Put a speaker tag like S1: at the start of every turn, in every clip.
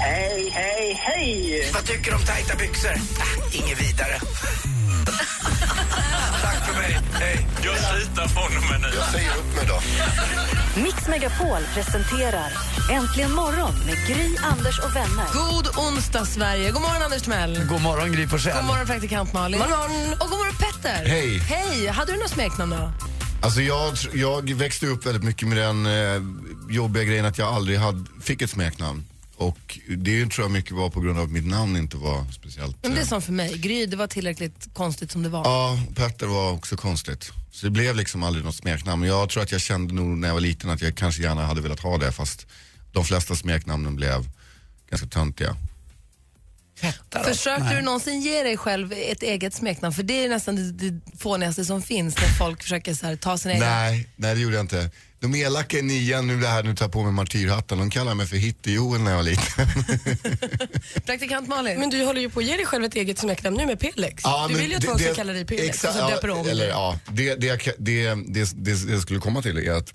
S1: Hej, hej, hej!
S2: Vad tycker du om tajta byxor? Ah, inget vidare. Tack för mig. Hej. Jag slutar från och med nu.
S3: Mix Megapol presenterar Äntligen morgon med Gry, Anders och vänner.
S4: God onsdag, Sverige. God morgon, Anders Timell.
S5: God morgon, Gry Forssell.
S4: God morgon, praktikant Malin. God morgon. Och god morgon, Petter.
S6: Hej.
S4: Hej. Hade du något smeknamn då?
S6: Alltså jag, tr- jag växte upp väldigt mycket med den eh, jobbiga grejen att jag aldrig hade, fick ett smeknamn. Och det tror jag mycket var på grund av att mitt namn inte var speciellt...
S4: Men det är
S6: eh,
S4: som för mig. Gry, det var tillräckligt konstigt som det var.
S6: Ja, Petter var också konstigt. Så det blev liksom aldrig något smeknamn. Jag tror att jag kände nog när jag var liten att jag kanske gärna hade velat ha det fast de flesta smeknamnen blev ganska töntiga.
S4: Försökte du någonsin ge dig själv ett eget smeknamn? För det är nästan det, det fånigaste som finns när folk försöker så här, ta sin egen.
S6: Nej, nej det gjorde jag inte. De elaka i nian, nu det här nu tar jag på mig martyrhatten, de kallade mig för Hitte-Joel när jag var liten.
S4: Praktikant Malin.
S7: Men du håller ju på att ge dig själv ett eget smeknamn nu med Pelex.
S6: Ja,
S7: du
S6: men
S7: vill ju att
S6: det-
S7: folk ska
S6: det-
S7: kalla dig Pelex och
S6: exakt,
S7: så döper du om dig.
S6: eller, ja, det, det, jag, ka- det, det, det jag skulle komma till är att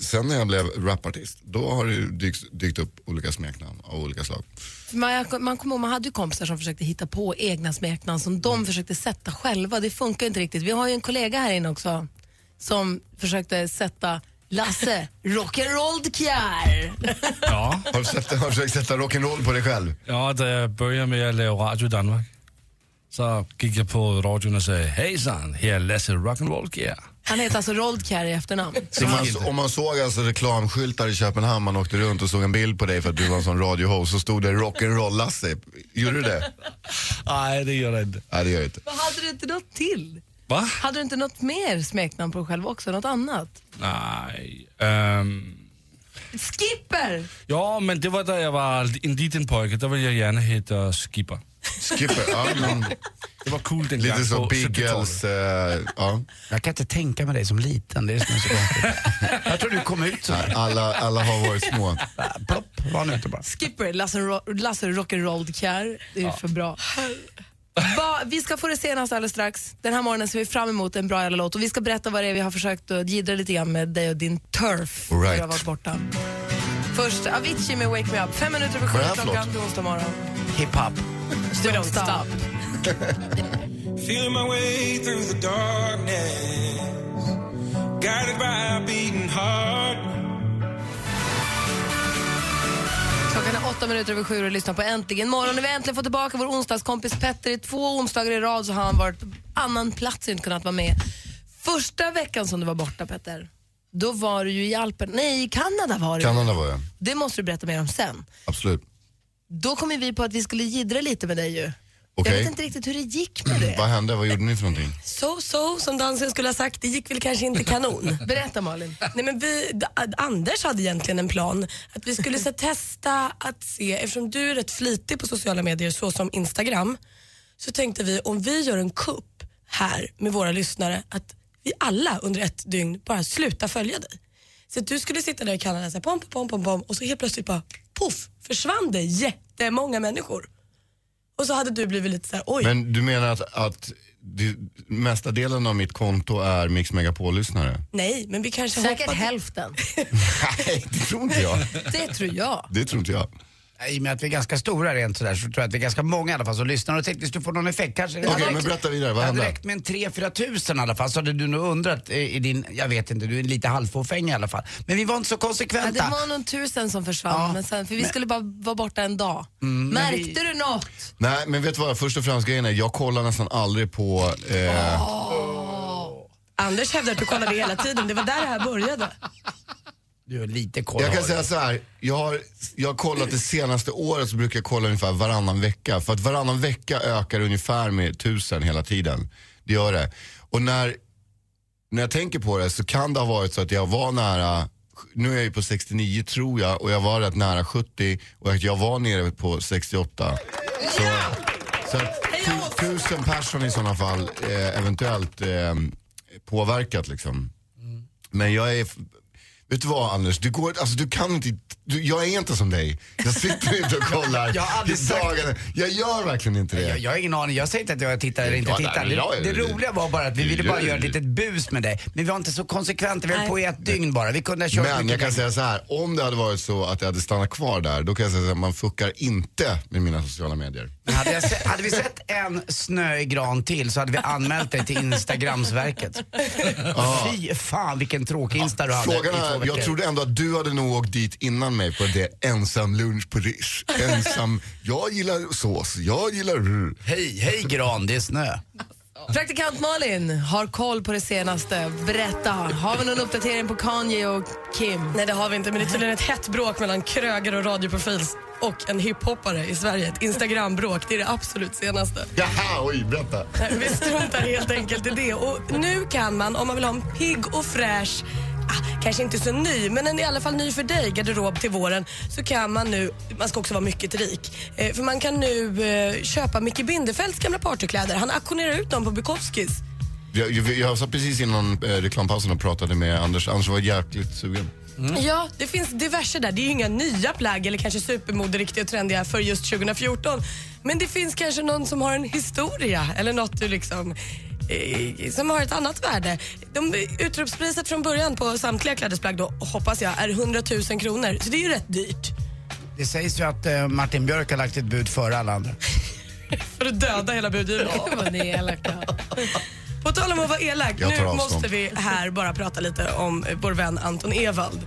S6: sen när jag blev rapartist, då har det ju dykt, dykt upp olika smeknamn av olika slag.
S4: För Man, man kommer ihåg, man hade ju kompisar som försökte hitta på egna smeknamn som de
S6: Mm.
S4: försökte sätta själva. Det funkar ju inte riktigt. Vi har ju en kollega här inne också som försökte sätta Lasse Rock'n'Roll Kjær.
S5: Ja,
S6: Har du, sett, har du försökt sätta rock'n'roll på dig själv?
S5: ja, da jag började med att lave radio i Danmark så gick jag på radion och sa hejsan, här är Lasse Rock'n'Roll Gear.
S4: Han heter alltså Rold Kjær i efternamn.
S6: Så man, om man såg alltså reklamskyltar i Köpenhamn, man åkte runt och såg en bild på dig för att du var en sån radiohost, så stod det rock'n'roll-Lasse. Gjorde du det?
S5: Nej, det gör det inte.
S6: Nej, det gör jag inte.
S4: Men Hade du inte något till?
S5: Va?
S4: Hade du inte något mer smeknamn på dig själv också? Något annat?
S5: Nej. ehm,
S4: Skipper!
S5: ja, men det var när jag var en liten pojke, då ville jag gärna heta Skipper.
S6: Skipper, ja, men,
S5: Det var coolt den
S6: lite
S5: gången
S6: som
S5: på
S6: Biggles,
S5: 70-talet.
S6: eh, ja.
S8: Jag kan inte tänka mig dig som liten. Det är som är så konstigt. Jag tror du kom ut så här.
S6: alla, alla har varit små.
S8: Plopp, var nu inte bara.
S4: Skipper, Lasse, Ro- Lasse Rock'n'Roll Kjær. Det är ju för bra. Va, vi ska få det senaste alldeles strax. Den här morgonen ser vi fram emot en bra jävla låt och vi ska berätta vad det är vi har försökt att jiddra lite grann med dig och din turf
S6: All right.
S4: när du har varit borta. Först Avicii med Wake Me Up. Fem minuter över sju
S6: Vad är det här för
S4: klockan
S6: låt?
S4: till onsdag morgon.
S8: Hiphop.
S4: Stop, don't stop.
S2: Feeling my way through the darkness Guided by a beating heart
S4: Klockan är åtta minuter över sju och lyssnar på Äntligen morgon. När vi äntligen får tillbaka vår onsdagskompis Petter. I två onsdagar i rad så har han varit på annan plats och inte kunnat vara med. Första veckan som du var borta Petter, då var du ju i Alpen, nej i Kanada var du.
S6: Kanada var jag,
S4: Det måste du berätta mer om sen.
S6: absolut.
S4: Då kom ju vi på att vi skulle jiddra lite med dig ju.
S6: Okej.
S4: Jag vet inte riktigt hur det gick med det.
S6: Vad hände? Vad gjorde ni för någonting?
S7: So, so, som dansen skulle ha sagt, det gick väl kanske inte kanon.
S4: Berätta Malin.
S7: Nej, men vi, D- Anders hade egentligen en plan att vi skulle så, testa att se, eftersom du är rätt flitig på sociala medier såsom Instagram, så tänkte vi om vi gör en kupp här med våra lyssnare att vi alla under ett dygn bara slutar följa dig. Så att du skulle sitta där i Kanada så här, pom, pom, pom, pom, pom, och så helt plötsligt bara poff försvann det jättemånga människor. Och så hade du blivit lite så här, oj.
S6: Men du menar att, att det, mesta delen av mitt konto är Mix Megapol-lyssnare?
S7: Nej, men vi kanske
S4: Säkert
S7: hoppade-
S4: hälften.
S6: Nej, det tror inte jag.
S4: Det tror jag.
S6: Det tror inte jag.
S8: I och med att vi är ganska stora rent sådär så tror jag att vi är ganska många i alla fall som lyssnar och tänkte att du får någon effekt. Kanske det
S6: Okej,
S8: hade
S6: men
S8: räckt-
S6: berätta vidare. Vad
S8: det hade
S6: hände?
S8: räckt med en 3-4 tusen i alla fall så hade du nog undrat eh, i din, jag vet inte, du är lite halvfåfäng i alla fall. Men vi var inte så
S4: Ja,
S8: konsekventa.
S4: det var någon tusen som försvann,
S8: Ja,
S4: men sen, för vi skulle bara vara borta en dag. Märkte du något?
S6: Nej, men vet du vad? Först och främst grejen är, jag kollar nästan aldrig på... Eh,
S7: Anders hävdar att du kollade hela tiden, det var där det här började.
S8: Du är lite koll
S6: jag
S8: har
S6: kan
S8: du.
S6: säga så här, jag har, jag har kollat det senaste året så brukar jag kolla ungefär varannan vecka. För att varannan vecka ökar ungefär med tusen hela tiden. Det gör det. Och när, när jag tänker på det så kan det ha varit så att jag var nära, nu är jag ju på 69 tror jag och jag var rätt nära 70 och att jag var nere på 68. Så, så att,
S4: Hej
S6: tu- tusen personer i sådana fall eh, eventuellt eh, påverkat liksom. Men jag är, f- vet du vad Anders, du, går, alltså, du kan inte, du, jag är inte som dig. Jag sitter inte och kollar
S8: Jag har aldrig
S6: i
S8: sagt-
S6: dagarna. Jag gör verkligen inte det.
S8: Jag, jag har ingen aning, jag säger inte att jag tittar eller inte
S6: Ja,
S8: tittar.
S6: nej, men jag är-
S8: Det, det roliga var bara att vi ville bara
S6: Jag-
S8: göra ett litet bus med dig. Men vi var inte så konsekventa, vi höll
S6: Nej.
S8: på i ett dygn bara. Vi kunde ha kört
S6: Men jag
S8: mycket
S6: kan säga så här, om det hade varit så att jag hade stannat kvar där, då kan jag säga att man fuckar inte med mina sociala medier.
S8: längre. hade, jag, se- hade vi sett en snöig gran till så hade vi anmält dig till Instagramsverket.
S6: Ja.
S8: Fy fan vilken tråkig Insta du hade
S6: Frågan
S8: i två
S6: är, jag
S8: veckor.
S6: trodde ändå att du hade nog åkt dit innan mig på det ensam lunch på Rish. Ensam, jag gillar sås, jag gillar rr.
S8: Hej, hej gran, det är snö.
S4: Praktikant Malin har koll på det senaste. Berätta, har vi någon uppdatering på Kanye och Kim?
S7: Nej, det har vi inte, men det är tydligen ett hett bråk mellan kröger och radioprofil och en hiphoppare i Sverige. Ett Instagram-bråk, det är det absolut senaste.
S6: Jaha, oj, berätta.
S7: Nej, Vi struntar helt enkelt i det. Och nu kan man, om man vill ha en pigg och fräsch ah, Kanske inte så ny, men en i alla fall ny för dig garderob till våren. Så kan man nu, man ska också vara mycket rik. Eh, för man kan nu eh, köpa Micke Bindefelds gamla partykläder. Han auktionerar ut dem på Bukowskis.
S6: Jag, jag, jag satt precis innan eh, reklampausen och pratade med Anders, Anders var jäkligt sugen.
S8: Mm.
S7: Ja, det finns diverse där. Det är ju inga nya plagg eller kanske supermoderiktiga och trendiga för just 2014. Men det finns kanske någon som har en historia eller något du liksom eh, som har ett annat värde. De, utropspriset från början på samtliga klädesplagg då, hoppas jag, är 100 000 kronor. Så det är ju rätt dyrt.
S8: Det sägs ju att eh, Martin Björk har lagt ett bud före alla andra.
S7: För att döda hela budgivningen.
S4: vad ni är elaka.
S7: På tal om att vara elak,
S8: Jag tar
S7: nu
S8: avstånd.
S7: måste vi här bara prata lite om eh, vår vän Anton Ewald.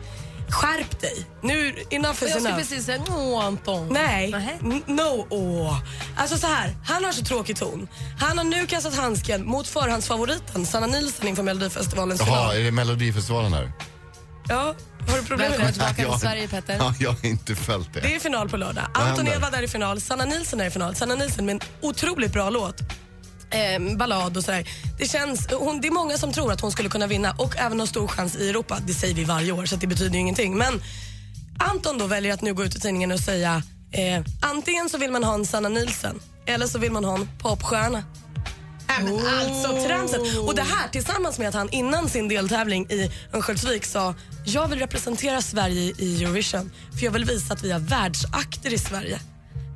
S7: Skärp dig! Nu, enough is
S4: Jag skulle
S7: enough.
S4: precis Mm. säga, åh Anton.
S7: Nej, N- no. åh. Alltså så här, han har så tråkig ton. Han har nu kastat handsken mot förhandsfavoriten Sanna Nilsson inför Melodifestivalens
S6: Jaha,
S7: final.
S6: är det Melodifestivalen här?
S7: Ja, har du problem med det?
S6: Jag- Ja, jag har inte följt det.
S7: Det är final på lördag.
S6: Vad
S7: Anton
S6: händer?
S7: Ewald är i final, Sanna Nilsson är i final. Sanna Nilsson med en otroligt bra låt. Eh, ballad och sådär. Det, känns, hon, det är många som tror att hon skulle kunna vinna och även ha stor chans i Europa. Det säger vi varje år så att det betyder ju ingenting. Men Anton då väljer att nu gå ut i tidningen och säga eh, antingen så vill man ha en Sanna Nilsson eller så vill man ha en popstjärna. Äh, men Alltså tramset. Och det här tillsammans med att han innan sin deltävling i Örnsköldsvik sa jag vill representera Sverige i Eurovision för jag vill visa att vi har världsakter i Sverige.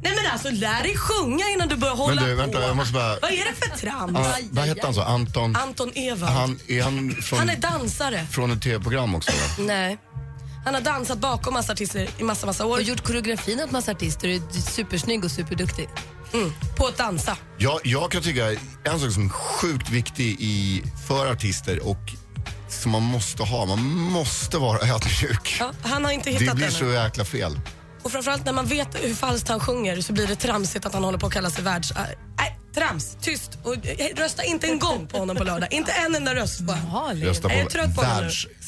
S7: Nej men alltså lär dig sjunga innan du börjar hålla
S6: Men du, vänta,
S7: på.
S6: jag måste bara...
S7: Vad är det för trams?
S6: Ah, vad hette han så? Anton?
S7: Anton Ewald. Han,
S6: Han, är han från,
S7: är dansare.
S6: från ett tv-program också va?
S7: Nej. Han har dansat bakom massa artister i massa, massa år.
S4: Och gjort koreografin åt massa artister och är supersnygg och superduktig.
S7: Mm. På att dansa.
S6: Jag, jag kan tycka en sak som är sjukt viktig i, för artister och som man måste ha, man måste vara ödmjuk.
S7: Ja, han har inte
S6: Det
S7: hittat
S6: blir
S7: den.
S6: så jäkla fel.
S7: Och framförallt när man vet hur falskt han sjunger så blir det tramsigt att han håller på att kalla sig världs... Äh, Nej, trams. Tyst. Och, eh, rösta inte en gång på honom på lördag. Inte en enda röst på honom.
S6: Rösta
S7: Jag är trött
S6: på
S7: på honom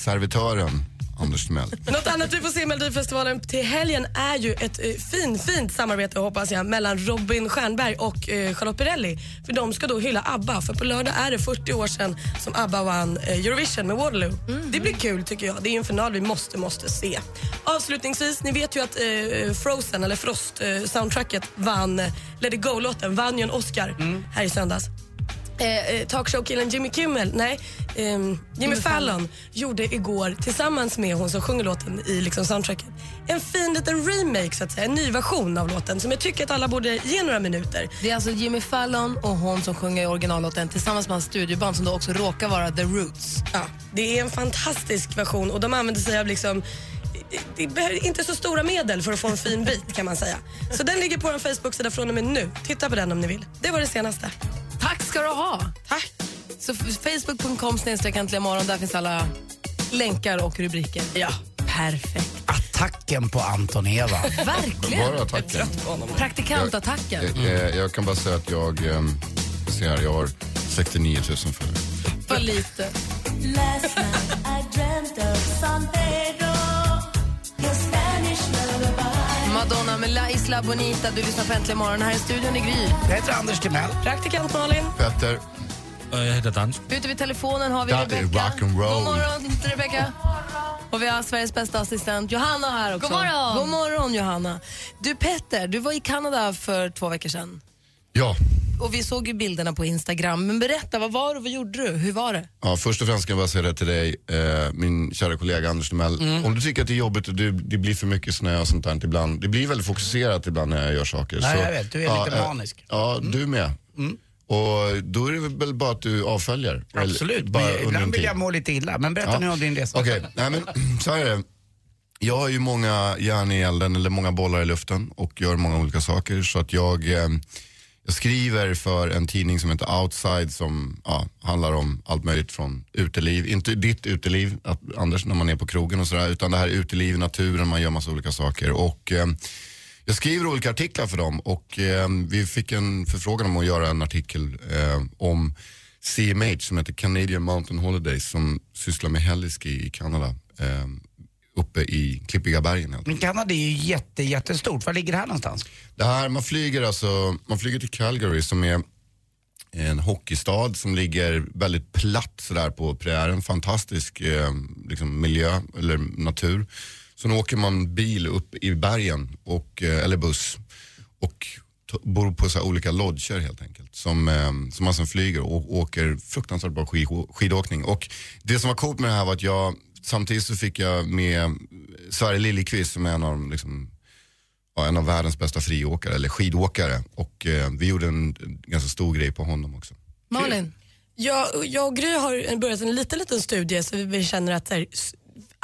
S7: nu.
S6: världsservitören Anders Timell.
S7: Något annat vi får se i Melodifestivalen till helgen är ju ett eh, fin, fint samarbete hoppas jag mellan Robin Stjernberg och eh, Charlotte Perrelli. För de ska då hylla ABBA för på lördag är det 40 år sedan som ABBA vann eh, Eurovision med Waterloo. Det blir kul tycker jag. Det är ju en final vi måste, måste se. Avslutningsvis, ni vet ju att eh, Frozen, eller Frost, eh, soundtracket vann, eh, Let it go-låten vann ju en Oscar här i söndags. Eh, eh, talkshowkillen Jimmy Kimmel, nej, ehm, Jimmy, Fallon, gjorde igår tillsammans med hon som sjunger låten i liksom soundtracket en fin liten remake, så att säga, en ny version av låten som jag tycker att alla borde ge några minuter.
S4: Det är alltså Jimmy Fallon och hon som sjunger i originallåten tillsammans med hans studioband som då också råkar vara The Roots.
S7: Ja, det är en fantastisk version och de använder sig av liksom det behöver inte så stora medel för att få en fin bit kan man säga. Så den ligger på vår Facebook-sida från och med nu. Titta på den om ni vill. Det var det senaste.
S4: Tack ska du ha!
S7: Tack!
S4: Så f- facebook.com snedstreck äntligen morgon, där finns alla länkar och rubriker. Ja. Perfekt.
S8: Attacken på Anton Ewald.
S4: Verkligen.
S6: Bara attacken.
S4: Praktikantattacken.
S6: Jag,
S8: Mm.
S6: eh, jag kan bara säga att jag, eh, se här, jag har 69 000 följare.
S4: För lite.
S9: Last night I dreamt of San Pedro, your Spanish lullaby.
S4: Madonna med La Isla Bonita. Du lyssnar på Äntligen morgon. Här i studion i Gry.
S8: Jag heter Anders Timell.
S7: Praktikant Malin.
S6: Petter.
S5: Jag heter Dansk.
S4: Ute vid telefonen har vi
S5: That is
S4: Rebecca.
S5: rock and roll.
S4: God morgon, Rebecca. Och vi har Sveriges bästa assistent Johanna här också.
S10: God morgon.
S4: God morgon Johanna. Du Petter, du var i Kanada för två veckor sedan.
S6: Ja,
S4: och vi såg ju bilderna på Instagram. Men berätta, vad var det och vad gjorde du? Hur var det?
S6: Ja, först och främst ska jag bara säga det till dig, eh, min kära kollega Anders Timell.
S8: Mm.
S6: Om du tycker att det är jobbigt och det, det blir för mycket snö och sånt där ibland. Det blir väldigt fokuserat ibland när jag gör saker.
S8: Nej,
S6: så,
S8: jag vet. Du är lite
S6: eh,
S8: manisk. Mm.
S6: Ja, du med. Och då är det väl bara att du avföljer? Eller
S8: Absolut,
S6: bara
S8: men
S6: under en
S8: ibland vill
S6: tid.
S8: jag må lite illa. Men berätta
S6: Ja.
S8: nu om din resa.
S6: Okej, nej men så här är det. Jag har ju många järn i elden eller många bollar i luften och gör många olika saker. Så att jag, eh, jag skriver för en tidning som heter Outside som ja, handlar om allt möjligt från uteliv. Inte ditt uteliv att- Anders när man är på krogen och sådär utan det här uteliv i naturen, man gör massa olika saker. Och eh, jag skriver olika artiklar för dem och eh, vi fick en förfrågan om att göra en artikel eh, om CMH som heter Canadian Mountain Holidays som sysslar med heliski i Kanada. Eh, uppe i Klippiga bergen. helt
S8: Men Kanada är ju jätte, jättestort. Var ligger det här någonstans?
S6: det här, man flyger alltså, man flyger till Calgary som är en hockeystad som ligger väldigt platt sådär på prärien. Fantastisk eh, liksom miljö eller natur. Sen åker man bil upp i bergen, och, eh, eller buss, och t- bor på så här olika lodger helt enkelt. Som, eh, som man sen flyger och åker fruktansvärt bra skid, skidåkning. Och det som var coolt med det här var att jag, samtidigt så fick jag med Sverige Liljeqvist som är en av de liksom, ja, en av världens bästa friåkare, eller skidåkare. Och eh, vi gjorde en, en ganska stor grej på honom också.
S4: Malin?
S7: Jag, jag och Gry har börjat en liten, liten studie så vi- vi känner att där, s-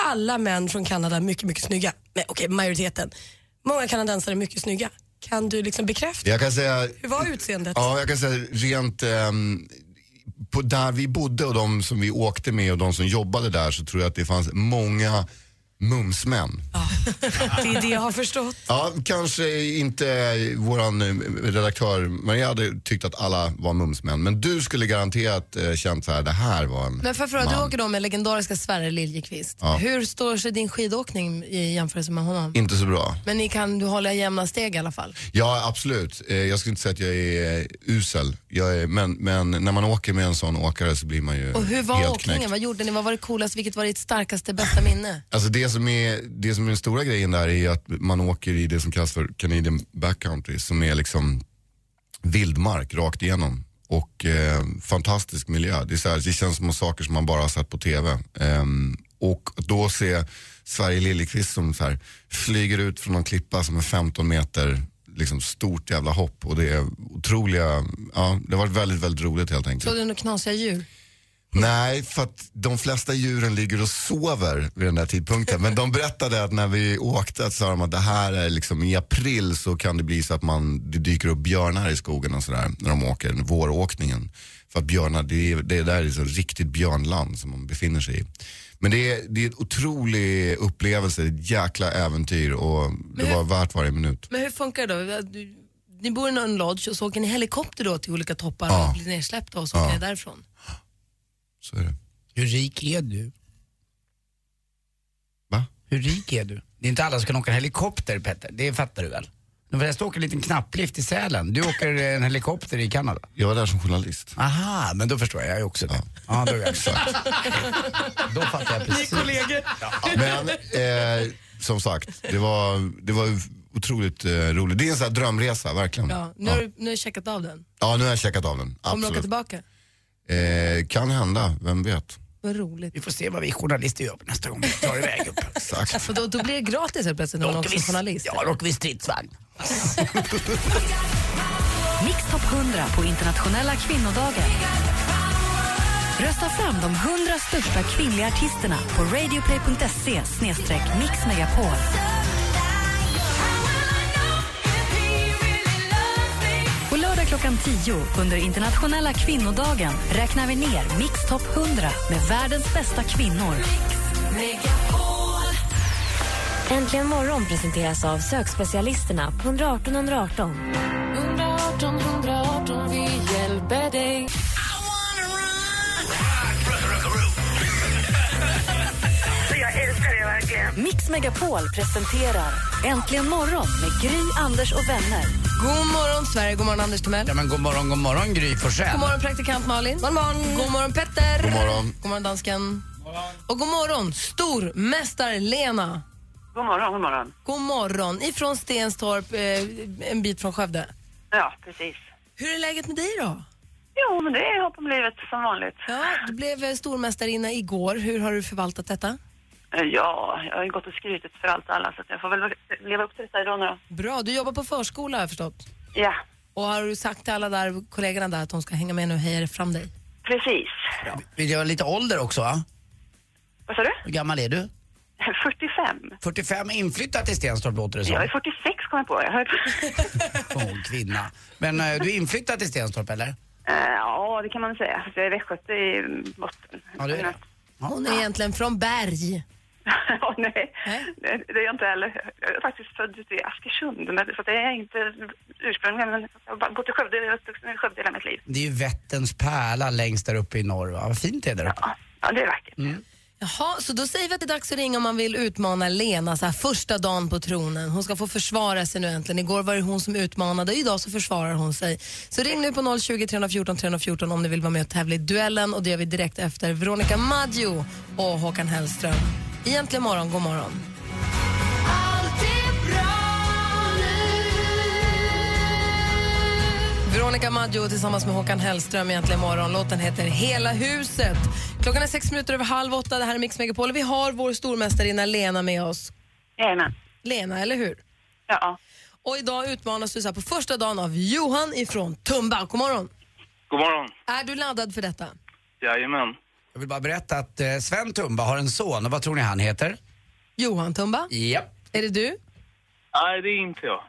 S7: alla män från Kanada är mycket, mycket snygga. Nej, okej, majoriteten. Många kanadensare är mycket snygga. Kan du liksom bekräfta?
S6: Jag kan säga,
S7: Hur var utseendet?
S6: ja, jag kan säga rent ehm, på där vi bodde och de som vi åkte med och de som jobbade där så tror jag att det fanns många mumsmän.
S7: Det är det jag har förstått.
S6: Ja, kanske inte våran eh, redaktör Maria hade tyckt att alla var mumsmän, men du skulle garanterat eh, känt så här, det här var en
S4: Men för att fråga, du
S6: man.
S4: åker då med legendariska Sverre Liljeqvist.
S6: Ja.
S4: Hur står sig din skidåkning i jämförelse med honom?
S6: Inte så bra.
S4: Men ni kan du hålla jämna steg i alla fall?
S6: Ja, absolut. Eh, Jag skulle inte säga att jag är eh, usel. Jag är, men, men när man åker med en sån åkare så blir man ju
S4: Och hur var
S6: helt
S4: åkningen?
S6: knäckt.
S4: Vad gjorde ni? Vad var det coolaste? Vilket var ditt starkaste, bästa minne?
S6: Alltså det, som är, det som är den stora grejen där är ju att man åker i det som kallas för Canadian backcountry som är liksom vildmark rakt igenom. Och eh, fantastisk miljö. Det, är så här, det känns som saker som man bara har sett på TV. Ehm, och då se Sverige Liljeqvist som så här, flyger ut från en klippa som är 15 meter liksom stort jävla hopp och det är otroliga, ja det har varit väldigt väldigt roligt helt enkelt.
S4: Såg du några knasiga djur?
S6: Nej, för att de flesta djuren ligger och sover vid den där tidpunkten. Men de berättade att när vi åkte att sa de att det här är liksom i april så kan det bli så att man, det dyker upp björnar i skogen och sådär när de åker, våråkningen. För att björnar, det, är- det där är så riktigt björnland som man befinner sig i. Men det är, det är en otrolig upplevelse, ett jäkla äventyr och det var värt varje minut.
S4: Men hur funkar det då? Du, ni bor i någon lodge och så åker ni helikopter då till olika toppar
S6: Ja.
S4: och blir nedsläppta och så
S6: Ja.
S4: åker ni därifrån.
S6: Så är det.
S8: Hur rik är du?
S6: Va?
S8: Hur rik är du? Det är inte alla som kan åka helikopter, Petter. Det fattar du väl? De flesta åker en liten knapplift i Sälen. Du åker en helikopter i Kanada.
S6: Jag var där som journalist.
S8: Aha, men då förstår jag. Jag är också det. Ja, då, är jag.
S6: Exakt.
S8: då fattar jag precis.
S6: Men eh, som sagt, det var, det var otroligt eh, roligt. Det är en sån här drömresa, verkligen.
S4: Ja.
S6: Ja.
S4: Nu, har du, nu har du checkat av den.
S6: ja, nu har jag checkat av den.
S4: Kommer du åka
S6: Absolut.
S4: tillbaka?
S6: Eh, kan hända, vem vet.
S4: Vad roligt.
S8: Vi får se vad vi journalister gör nästa gång vi drar iväg upp.
S6: Exakt.
S4: Alltså, då, då blir det gratis helt plötsligt när man åker som journalist.
S8: Ja, då åker vi stridsvagn.
S3: Mix Top 100 på internationella kvinnodagen. Rösta fram de 100 största kvinnliga artisterna på radioplay.se snedstreck mixmegapol. På lördag klockan 10 under internationella kvinnodagen räknar vi ner Mix Top 100 med världens bästa kvinnor.
S10: Äntligen morgon presenteras av sökspecialisterna på 118 118. 118 118, vi hjälper dig.
S1: Jag älskar det verkligen.
S3: Mix Megapol presenterar Äntligen morgon med Gry, Anders och vänner.
S4: God morgon Sverige, god morgon Anders Timell.
S8: Ja, men god morgon, god morgon Gry Forssell.
S4: God morgon praktikant Malin. God morgon, god morgon Petter.
S8: God morgon.
S4: God morgon dansken. Och god morgon stormästare Lena.
S1: God morgon, god morgon.
S4: God morgon ifrån Stenstorp, eh, en bit från Skövde.
S1: Ja, precis.
S4: Hur är läget med dig då? Jo, men det är hopp om livet som vanligt. Ja, du blev eh, stormästarinna igår. Hur har du förvaltat detta?
S1: Eh, Ja, jag har ju gått och skrutit för allt och alla så att jag får väl leva upp till detta idag nu då.
S4: Bra, du jobbar på förskola har jag förstått.
S1: Ja,
S4: Och har du sagt till alla där, kollegorna där att de ska hänga med nu och heja fram dig?
S1: precis.
S8: Vi har lite ålder också va?
S1: Vad sa du?
S8: Hur gammal är du?
S1: 45.
S8: 45, inflyttat till Stenstorp låter det som.
S1: Jag är 46 kom jag på. Jag hörde.
S8: Ung kvinna. Men eh, du är inflyttad till Stenstorp eller?
S1: Eh, Ja, det kan man säga. Fast Jag är västgöte i mm, botten.
S8: Ja, du är det.
S4: Hon är egentligen från Berg.
S1: Ja, nej. nej, det är jag inte heller. Jag är faktiskt född ute i Askersund, men så att jag är inte ursprungligen, men jag har bara bott i Skövde, jag är uppvuxen i Skövde hela mitt liv.
S8: Det är ju Vätterns pärla längst där uppe i norr va? Vad fint det är där uppe.
S1: Ja, det är vackert.
S8: Mm.
S4: Jaha, så då säger vi att det är dags att ringa om man vill utmana Lena så här första dagen på tronen. Hon ska få försvara sig nu äntligen. Igår var det hon som utmanade, idag så försvarar hon sig. Så ring nu på 020 314 314 om ni vill vara med och tävla i duellen och det gör vi direkt efter Veronica Maggio och Håkan Hellström. Egentligen morgon, god morgon. Veronica Maggio tillsammans med Håkan Hellström egentligen imorgon. Låten heter Hela huset. Klockan är sex minuter över halv åtta. Det här är Mix Megapol. Vi har vår stormästarinna Lena med oss.
S1: Jajamän.
S4: Lena, eller hur?
S1: Ja.
S4: Och idag utmanas du så här på första dagen av Johan ifrån Tumba. God morgon.
S11: God morgon.
S4: Är du laddad för detta?
S11: Jajamän.
S8: Jag vill bara berätta att eh, Sven Tumba har en son och vad tror ni han heter?
S4: Johan Tumba?
S8: Japp.
S4: Är det du?
S11: Nej, det är inte jag.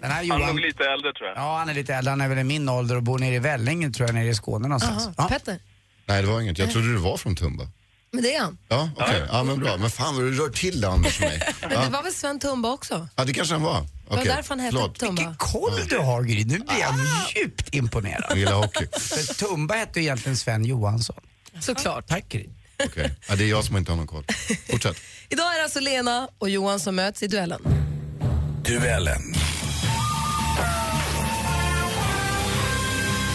S8: Den här
S11: Han är
S8: Johan,
S11: nog lite äldre tror jag.
S8: ja han är lite äldre, han är väl i min ålder och bor nere i Vällingen tror jag, nere i Skåne någonstans.
S4: Jaha. Petter?
S6: Nej, det var inget. Jag trodde du var från Tumba.
S4: Men det är han.
S6: Ja, okej. Ja, men bra. Men fan vad du rör till det Anders för mig.
S4: Men det
S6: Ja,
S4: var väl Sven Tumba också?
S6: ja det kanske han var.
S4: Det var
S6: Okej,
S4: därför han hette
S6: förlåt.
S4: Tumba.
S8: Koll
S12: Mm.
S8: du har Gry, nu blir jag
S12: Ah.
S8: djupt imponerad.
S6: Jag gillar hockey.
S8: För Tumba hette ju egentligen Sven Johansson.
S4: Såklart.
S8: Tack Gry.
S6: Ja, det är jag som inte har någon koll. Fortsätt.
S4: Idag är det alltså Lena och Johan som möts i duellen.
S6: Duellen.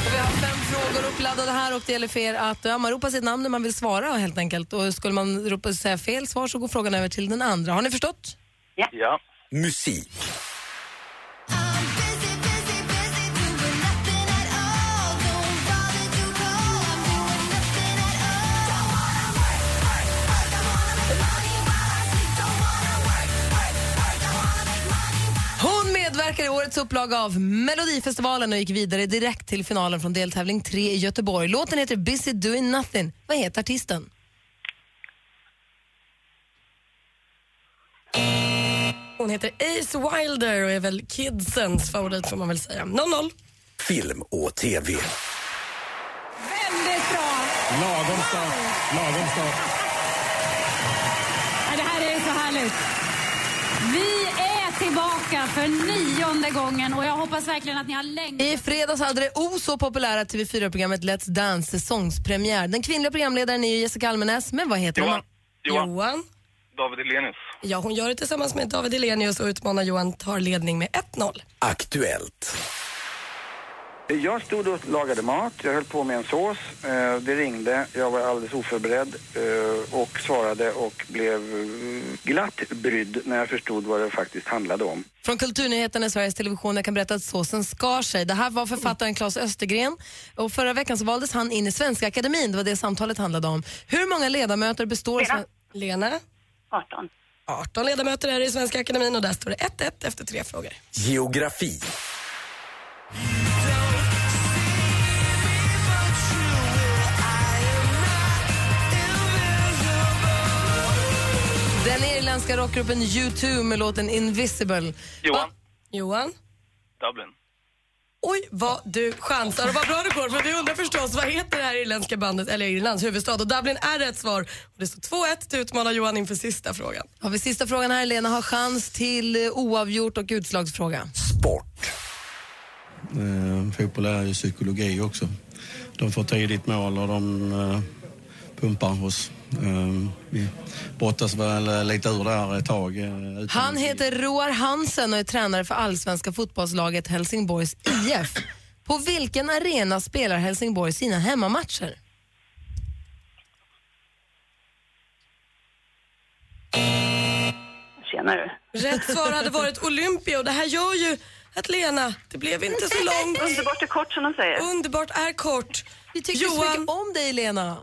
S4: Och vi har fem frågor uppladdade här och det gäller för er att ja, man ropar sitt namn när man vill svara helt enkelt. Och skulle man ropa, säga fel svar så går frågan över till den andra. Har ni förstått?
S11: Ja. Musik.
S4: Hon medverkar i årets upplaga av Melodifestivalen och gick vidare direkt till finalen från deltävling 3 i Göteborg. Låten heter Busy Doing Nothing. Vad heter artisten?
S7: Hon heter Ace Wilder och är väl kidsens favorit får man väl säga. 0-0.
S13: Film och TV.
S14: Väldigt bra!
S13: Lagom start. Lagom start.
S14: Ja, det här är så härligt. Vi är tillbaka för nionde gången och jag hoppas verkligen att ni har längtat.
S4: I fredags hade det o så populära TV4-programmet Let's Dance säsongspremiär. Den kvinnliga programledaren är ju Jessica Almenäs, men vad heter hon?
S11: Johan.
S7: Johan.
S11: David Hellenius.
S7: Ja, hon gör det tillsammans med David Elenius och utmanar Johan tar ledning med 1-0.
S13: Aktuellt.
S15: Jag stod och lagade mat, jag höll på med en sås. Eh, Det ringde, jag var alldeles oförberedd eh, och svarade och blev eh, glatt brydd när jag förstod vad det faktiskt handlade om.
S4: Från Kulturnyheterna i Sveriges Television, jag kan berätta att såsen skar sig. Det här var författaren Claes Östergren och förra veckan så valdes han in i Svenska Akademin. det var det samtalet handlade om. Hur många ledamöter består... Lena.
S7: Lena?
S1: 18.
S7: 18 ledamöter är det i Svenska Akademin och där står det 1-1 efter tre frågor.
S13: Geografi.
S4: Den irländska rockgruppen U2 med låten Invisible.
S11: Johan.
S7: Johan?
S11: Dublin.
S7: Oj, vad du chansar och vad bra du går. För vi undrar förstås, vad heter det här irländska bandet, eller Irlands huvudstad? Och Dublin är rätt svar. Och det står 2-1 till utmanar Johan inför sista frågan.
S4: Har vi sista frågan här. Lena har chans till eh, oavgjort och utslagsfråga.
S12: Eh, fotboll är ju psykologi också. De får tidigt mål och de eh, pumpar oss. Eh, vi brottas väl eh, lite ur där ett tag. Eh, utan-
S4: Han heter Roar Hansen och är tränare för allsvenska fotbollslaget Helsingborgs IF. På vilken arena spelar Helsingborg sina hemmamatcher?
S1: Tjenare.
S7: Rätt svar hade varit Olympia och det här gör ju
S4: att Lena, det blev inte så långt.
S15: Underbart är kort som de säger.
S4: Underbart är kort.
S7: Vi tycker så mycket om dig Lena.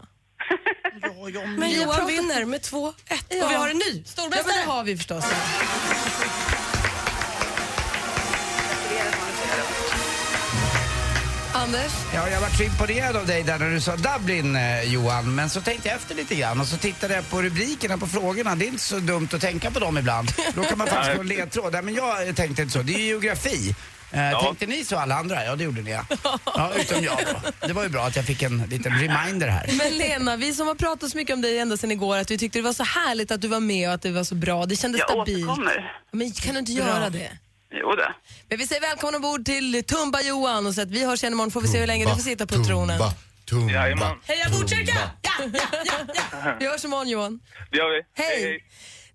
S4: Men
S7: Vi har
S4: Johan
S7: pratat-
S4: vinner med 2-1
S7: Ja.
S4: och vi har en ny.
S7: Stormästare
S4: Ja, men det har vi förstås.
S7: Anders?
S8: Ja, jag var så imponerad av dig där när du sa Dublin, eh, Johan. Men så tänkte jag efter lite grann och så tittade jag på rubrikerna på frågorna. Det är inte så dumt att tänka på dem ibland. Då kan man faktiskt
S16: Nej.
S8: få en ledtråd. Nej, men jag eh, tänkte inte så. Det är ju geografi. Eh, Tänkte ni så alla andra? Ja, det gjorde ni ja. ja utom jag då. Det var ju bra att jag fick en liten reminder här.
S7: Men Lena, vi som har pratat så mycket om dig ända sedan igår, att vi tyckte det var så härligt att du var med och att det var så bra. Det kändes
S15: Jag
S7: stabilt.
S15: återkommer.
S7: Men kan du inte
S15: Bra.
S7: göra det?
S15: Jo då.
S7: Men vi säger välkommen ombord till Tumba-Johan och så att vi hörs igen imorgon får vi se hur länge du får sitta på tronen.
S6: Tumba.
S7: Heja Botkyrka! Ja, ja, ja, ja. Vi hörs imorgon Johan.
S17: Det gör vi.
S7: Hej!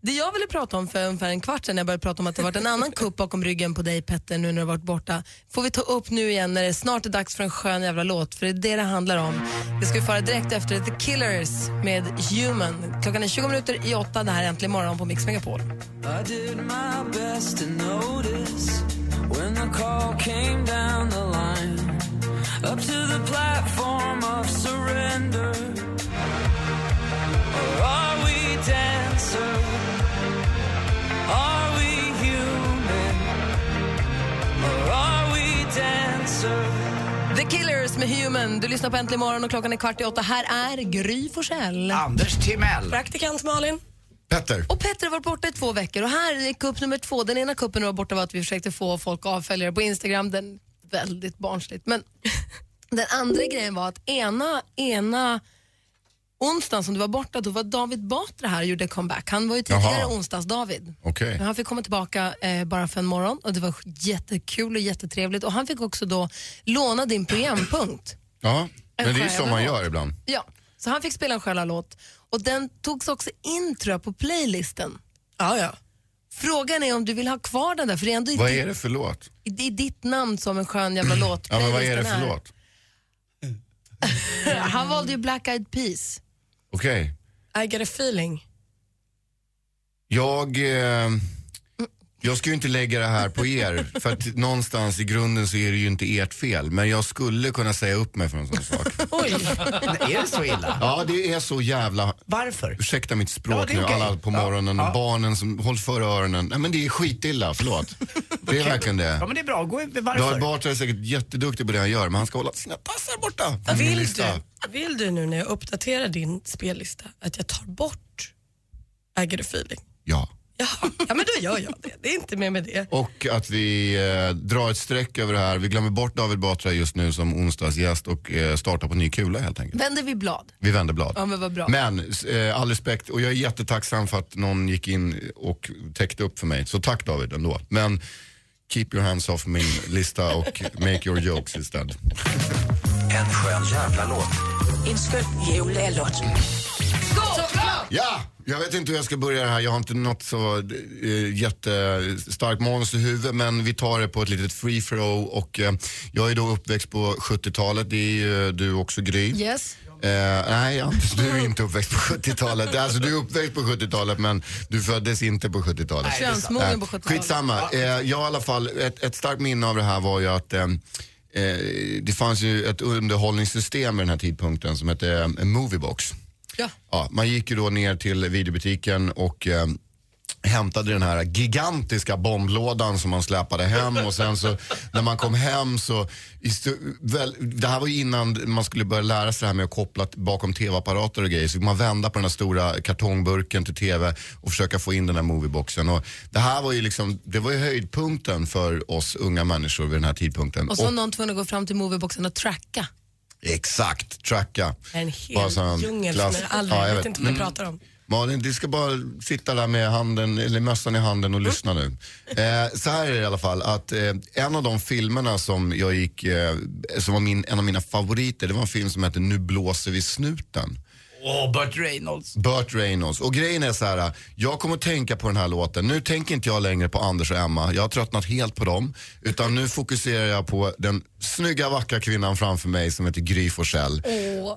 S7: Det jag ville prata om för ungefär en kvart sedan när jag började prata om att det varit en annan kupp bakom ryggen på dig Petter nu när du varit borta. Får vi ta upp nu igen när det snart är dags för en skön jävla låt för det är det det handlar om. Vi ska ju föra direkt efter The Killers med Human. Klockan är 20 minuter i åtta. Det här är Äntligen morgon på Mix Megapol.
S16: I did my best to notice when the call came down the line up to the platform of surrender. Or are we dancer? Are we human? Or are we dancer?
S7: The Killers med Human. Du lyssnar på Äntligen morgon och klockan är kvart i åtta. Här är Gry Forssell.
S8: Anders Timell.
S7: Praktikant Malin.
S6: Petter.
S7: Och Petter har varit borta i två veckor och här är kupp nummer två. Den ena kuppen var borta var att vi försökte få folk avföljare på Instagram. Den väldigt barnsligt. Men den andra grejen var att ena, ena onsdagen som du var borta, då var David Batra här och gjorde comeback. Han var ju tidigare
S6: Jaha.
S7: onsdags-David.
S6: Okej.
S7: Men Han fick komma tillbaka eh, bara för en morgon och det var jättekul och jättetrevligt. Och han fick också då låna din programpunkt.
S6: Ja, men det är ju så man
S7: Sjöjävla
S6: gör ibland.
S7: Ja, så han fick spela en själalåt och den togs också in tror jag på playlisten.
S4: Ja, ja.
S7: Frågan är om du vill ha kvar den där för det är ändå i
S6: Vad
S7: ditt-
S6: är det för låt?
S7: i- Det är ditt namn som en skön jävla låt.
S6: Ja, men vad är det
S7: Playlisten
S6: för låt?
S7: han valde ju Black Eyed Peas.
S6: Okej.
S4: I get a feeling.
S6: Jag, eh, jag ska ju inte lägga det här på er, för att någonstans i grunden så är det ju inte ert fel. Men jag skulle kunna säga upp mig för en sån sak.
S8: Oj. är det så illa?
S6: Ja, det är så jävla...
S8: Varför?
S6: Ursäkta mitt
S8: Ja,
S6: språk
S8: det är
S6: nu,
S8: okej.
S6: alla på morgonen och barnen som håller för öronen. Nej men det är skitilla, förlåt. Det är verkligen
S8: Ja,
S6: det.
S8: men det är bra. Gå,
S6: David
S8: varför?
S6: Batra är säkert jätteduktig på det han gör, men han ska hålla sina tassar borta. från min
S4: Vill
S6: lista.
S4: du, vill du nu när jag uppdaterar din spellista att jag tar bort I get a feeling?
S6: Ja.
S4: Jaha, ja men då gör jag det. Det är inte mer med det.
S6: Och att vi eh, drar ett streck över det här. Vi glömmer bort David Batra just nu som onsdagsgäst och eh, startar på ny kula helt enkelt.
S7: Vänder vi blad?
S6: Vi vänder blad.
S7: Ja men vad bra.
S6: Men s- eh, all respekt och jag är jättetacksam för att någon gick in och täckte upp för mig. Så tack David ändå. Men keep your hands off min lista och make your jokes istället.
S18: En skön jävla låt.
S16: En skön jullåt. Såklart!
S6: Ja, jag vet inte hur jag ska börja det här. Jag har inte något så eh, jättestarkt manus i huvudet men vi tar det på ett litet free throw och eh, jag är då uppväxt på 70-talet. Det är ju eh, du också Gry.
S7: Yes.
S6: Eh, nej, Anders, du är inte uppväxt på 70-talet. Alltså, du är uppväxt på 70-talet, men du föddes inte på 70-talet.
S7: Nej, det är sant. Könsmogen på
S6: Eh,
S7: 70-talet.
S6: Skitsamma. Eh, jag har i alla fall, ett, ett starkt minne av det här var ju att eh, eh, det fanns ju ett underhållningssystem vid den här tidpunkten som hette eh, Moviebox.
S7: Ja.
S6: man gick ju då ner till videobutiken och eh, hämtade den här gigantiska bomblådan som man släpade hem och sen så när man kom hem så, i stu- väl, det här var ju innan man skulle börja lära sig det här med att koppla t- bakom tv-apparater och grejer så fick man vända på den här stora kartongburken till tv och försöka få in den här movieboxen och det här var ju liksom, det var ju höjdpunkten för oss unga människor vid den här tidpunkten.
S7: Och så var
S6: Och-
S7: någon tvungen att gå fram till movieboxen och tracka.
S6: Exakt, tracka.
S4: En
S6: Bara
S4: hel
S6: så här,
S4: djungel
S6: klass-
S4: som jag aldrig
S6: Ja,
S4: vet inte vad
S6: Mm.
S4: vi pratar om.
S6: Malin, du ska bara sitta där med handen, eller mössan i handen och lyssna nu. Eh, så här är det i alla fall, att eh, en av de filmerna som jag gick, eh, som var min, en av mina favoriter, det var en film som hette Nu blåser vi snuten.
S8: Åh, Burt Reynolds.
S6: Burt Reynolds. Och grejen är så här, jag kommer att tänka på den här låten. Nu tänker inte jag längre på Anders och Emma. Jag har tröttnat helt på dem. Utan nu fokuserar jag på den snygga, vackra kvinnan framför mig som heter Gry Forssell.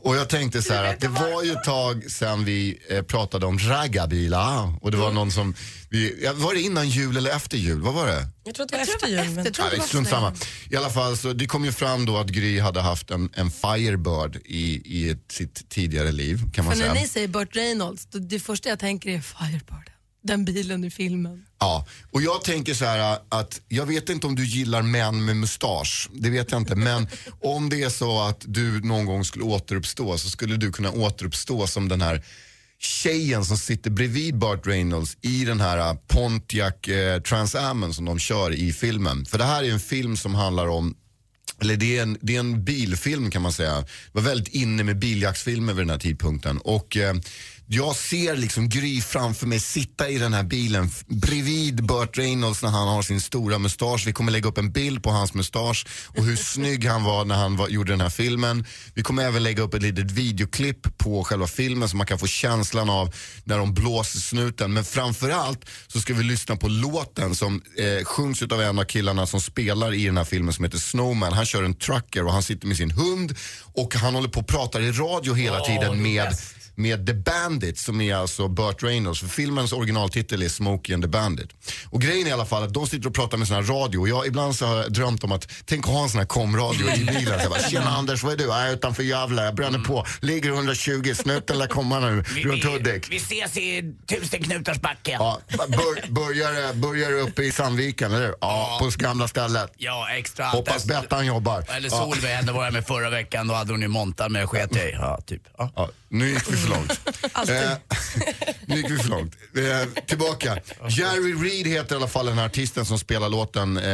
S6: Och jag tänkte så här att det var ju ett tag sedan vi eh, pratade om raggarbilar och det var någon som, Vi, ja, var det innan jul eller efter jul? Vad var det?
S7: Jag tror att det var efter jul. men-
S6: Ja, det är strunt samma. I alla fall, så det kom ju fram då att Gry hade haft en, en Firebird i, i ett, sitt tidigare liv, kan man
S4: För när
S6: säga.
S4: ni säger Burt Reynolds, då- det första jag tänker är Firebirden. Den bilen i filmen.
S6: Ja, och jag tänker så här att jag vet inte om du gillar män med mustasch, det vet jag inte, men om det är så att du någon gång skulle återuppstå så skulle du kunna återuppstå som den här tjejen som sitter bredvid Burt Reynolds i den här eh, Pontiac eh, Trans Amen som de kör i filmen. För det här är en film som handlar om eller det är, en, det är en bilfilm kan man säga. Jag var väldigt inne med biljaktsfilmer vid den här tidpunkten. Och eh, jag ser liksom Gry framför mig sitta i den här bilen f- bredvid Burt Reynolds när han har sin stora mustasch. Vi kommer lägga upp en bild på hans mustasch och hur snygg han var när han var, gjorde den här filmen. Vi kommer även lägga upp ett litet videoklipp på själva filmen så man kan få känslan av när de blåser snuten. Men framförallt så ska vi lyssna på låten som eh, sjungs av en av killarna som spelar i den här filmen som heter Snowman. Han kör en trucker och han sitter med sin hund och han håller på och pratar i radio hela tiden med med The Bandit som är alltså Burt Reynolds. För filmens originaltitel är Smokey and the Bandit. Och grejen är i alla fall att de sitter och pratar med sån här radio. Och jag, ibland så har jag drömt om att tänk att ha en sån här komradio i bilen. Så jag bara, Tjena Anders, vad är du? Jag är utanför Gävle, jag bränner på. Ligger 120, snuten lär komma nu runt Hudik.
S8: Vi ses i tusen knutars backen.
S6: Ja, bör, börjar, det- börjar det uppe i Sandviken, eller hur? Ja, på gamla stället.
S8: Ja, extra.
S6: Hoppas Bettan jobbar.
S8: Eller
S6: Ja.
S8: Solveig, henne var jag med förra veckan. Då hade hon ju montar med sket i. Ja, typ.
S6: Ja, nu gick vi för långt. Eh, nu gick vi för långt. Eh, tillbaka. Jerry Reed heter i alla fall den här artisten som spelar låten. Eh,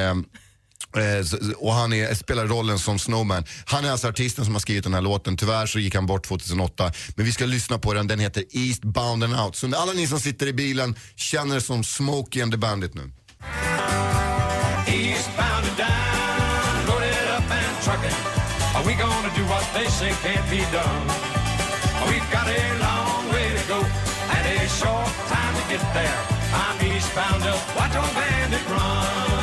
S6: eh, s- s- och han är, spelar rollen som Snowman. Han är alltså artisten som har skrivit den här låten. Tyvärr så gick han bort 2008. Men vi ska lyssna på den. Den heter Eastbound and Out. Så alla ni som sitter i bilen känner det som Smokey and the Bandit nu.
S2: Eastbound and down, loaded up and trucking. Are we gonna do what they say can't be done? We've got a long way to go and a short time to get there. I'm eastbound up, watch on bandit run.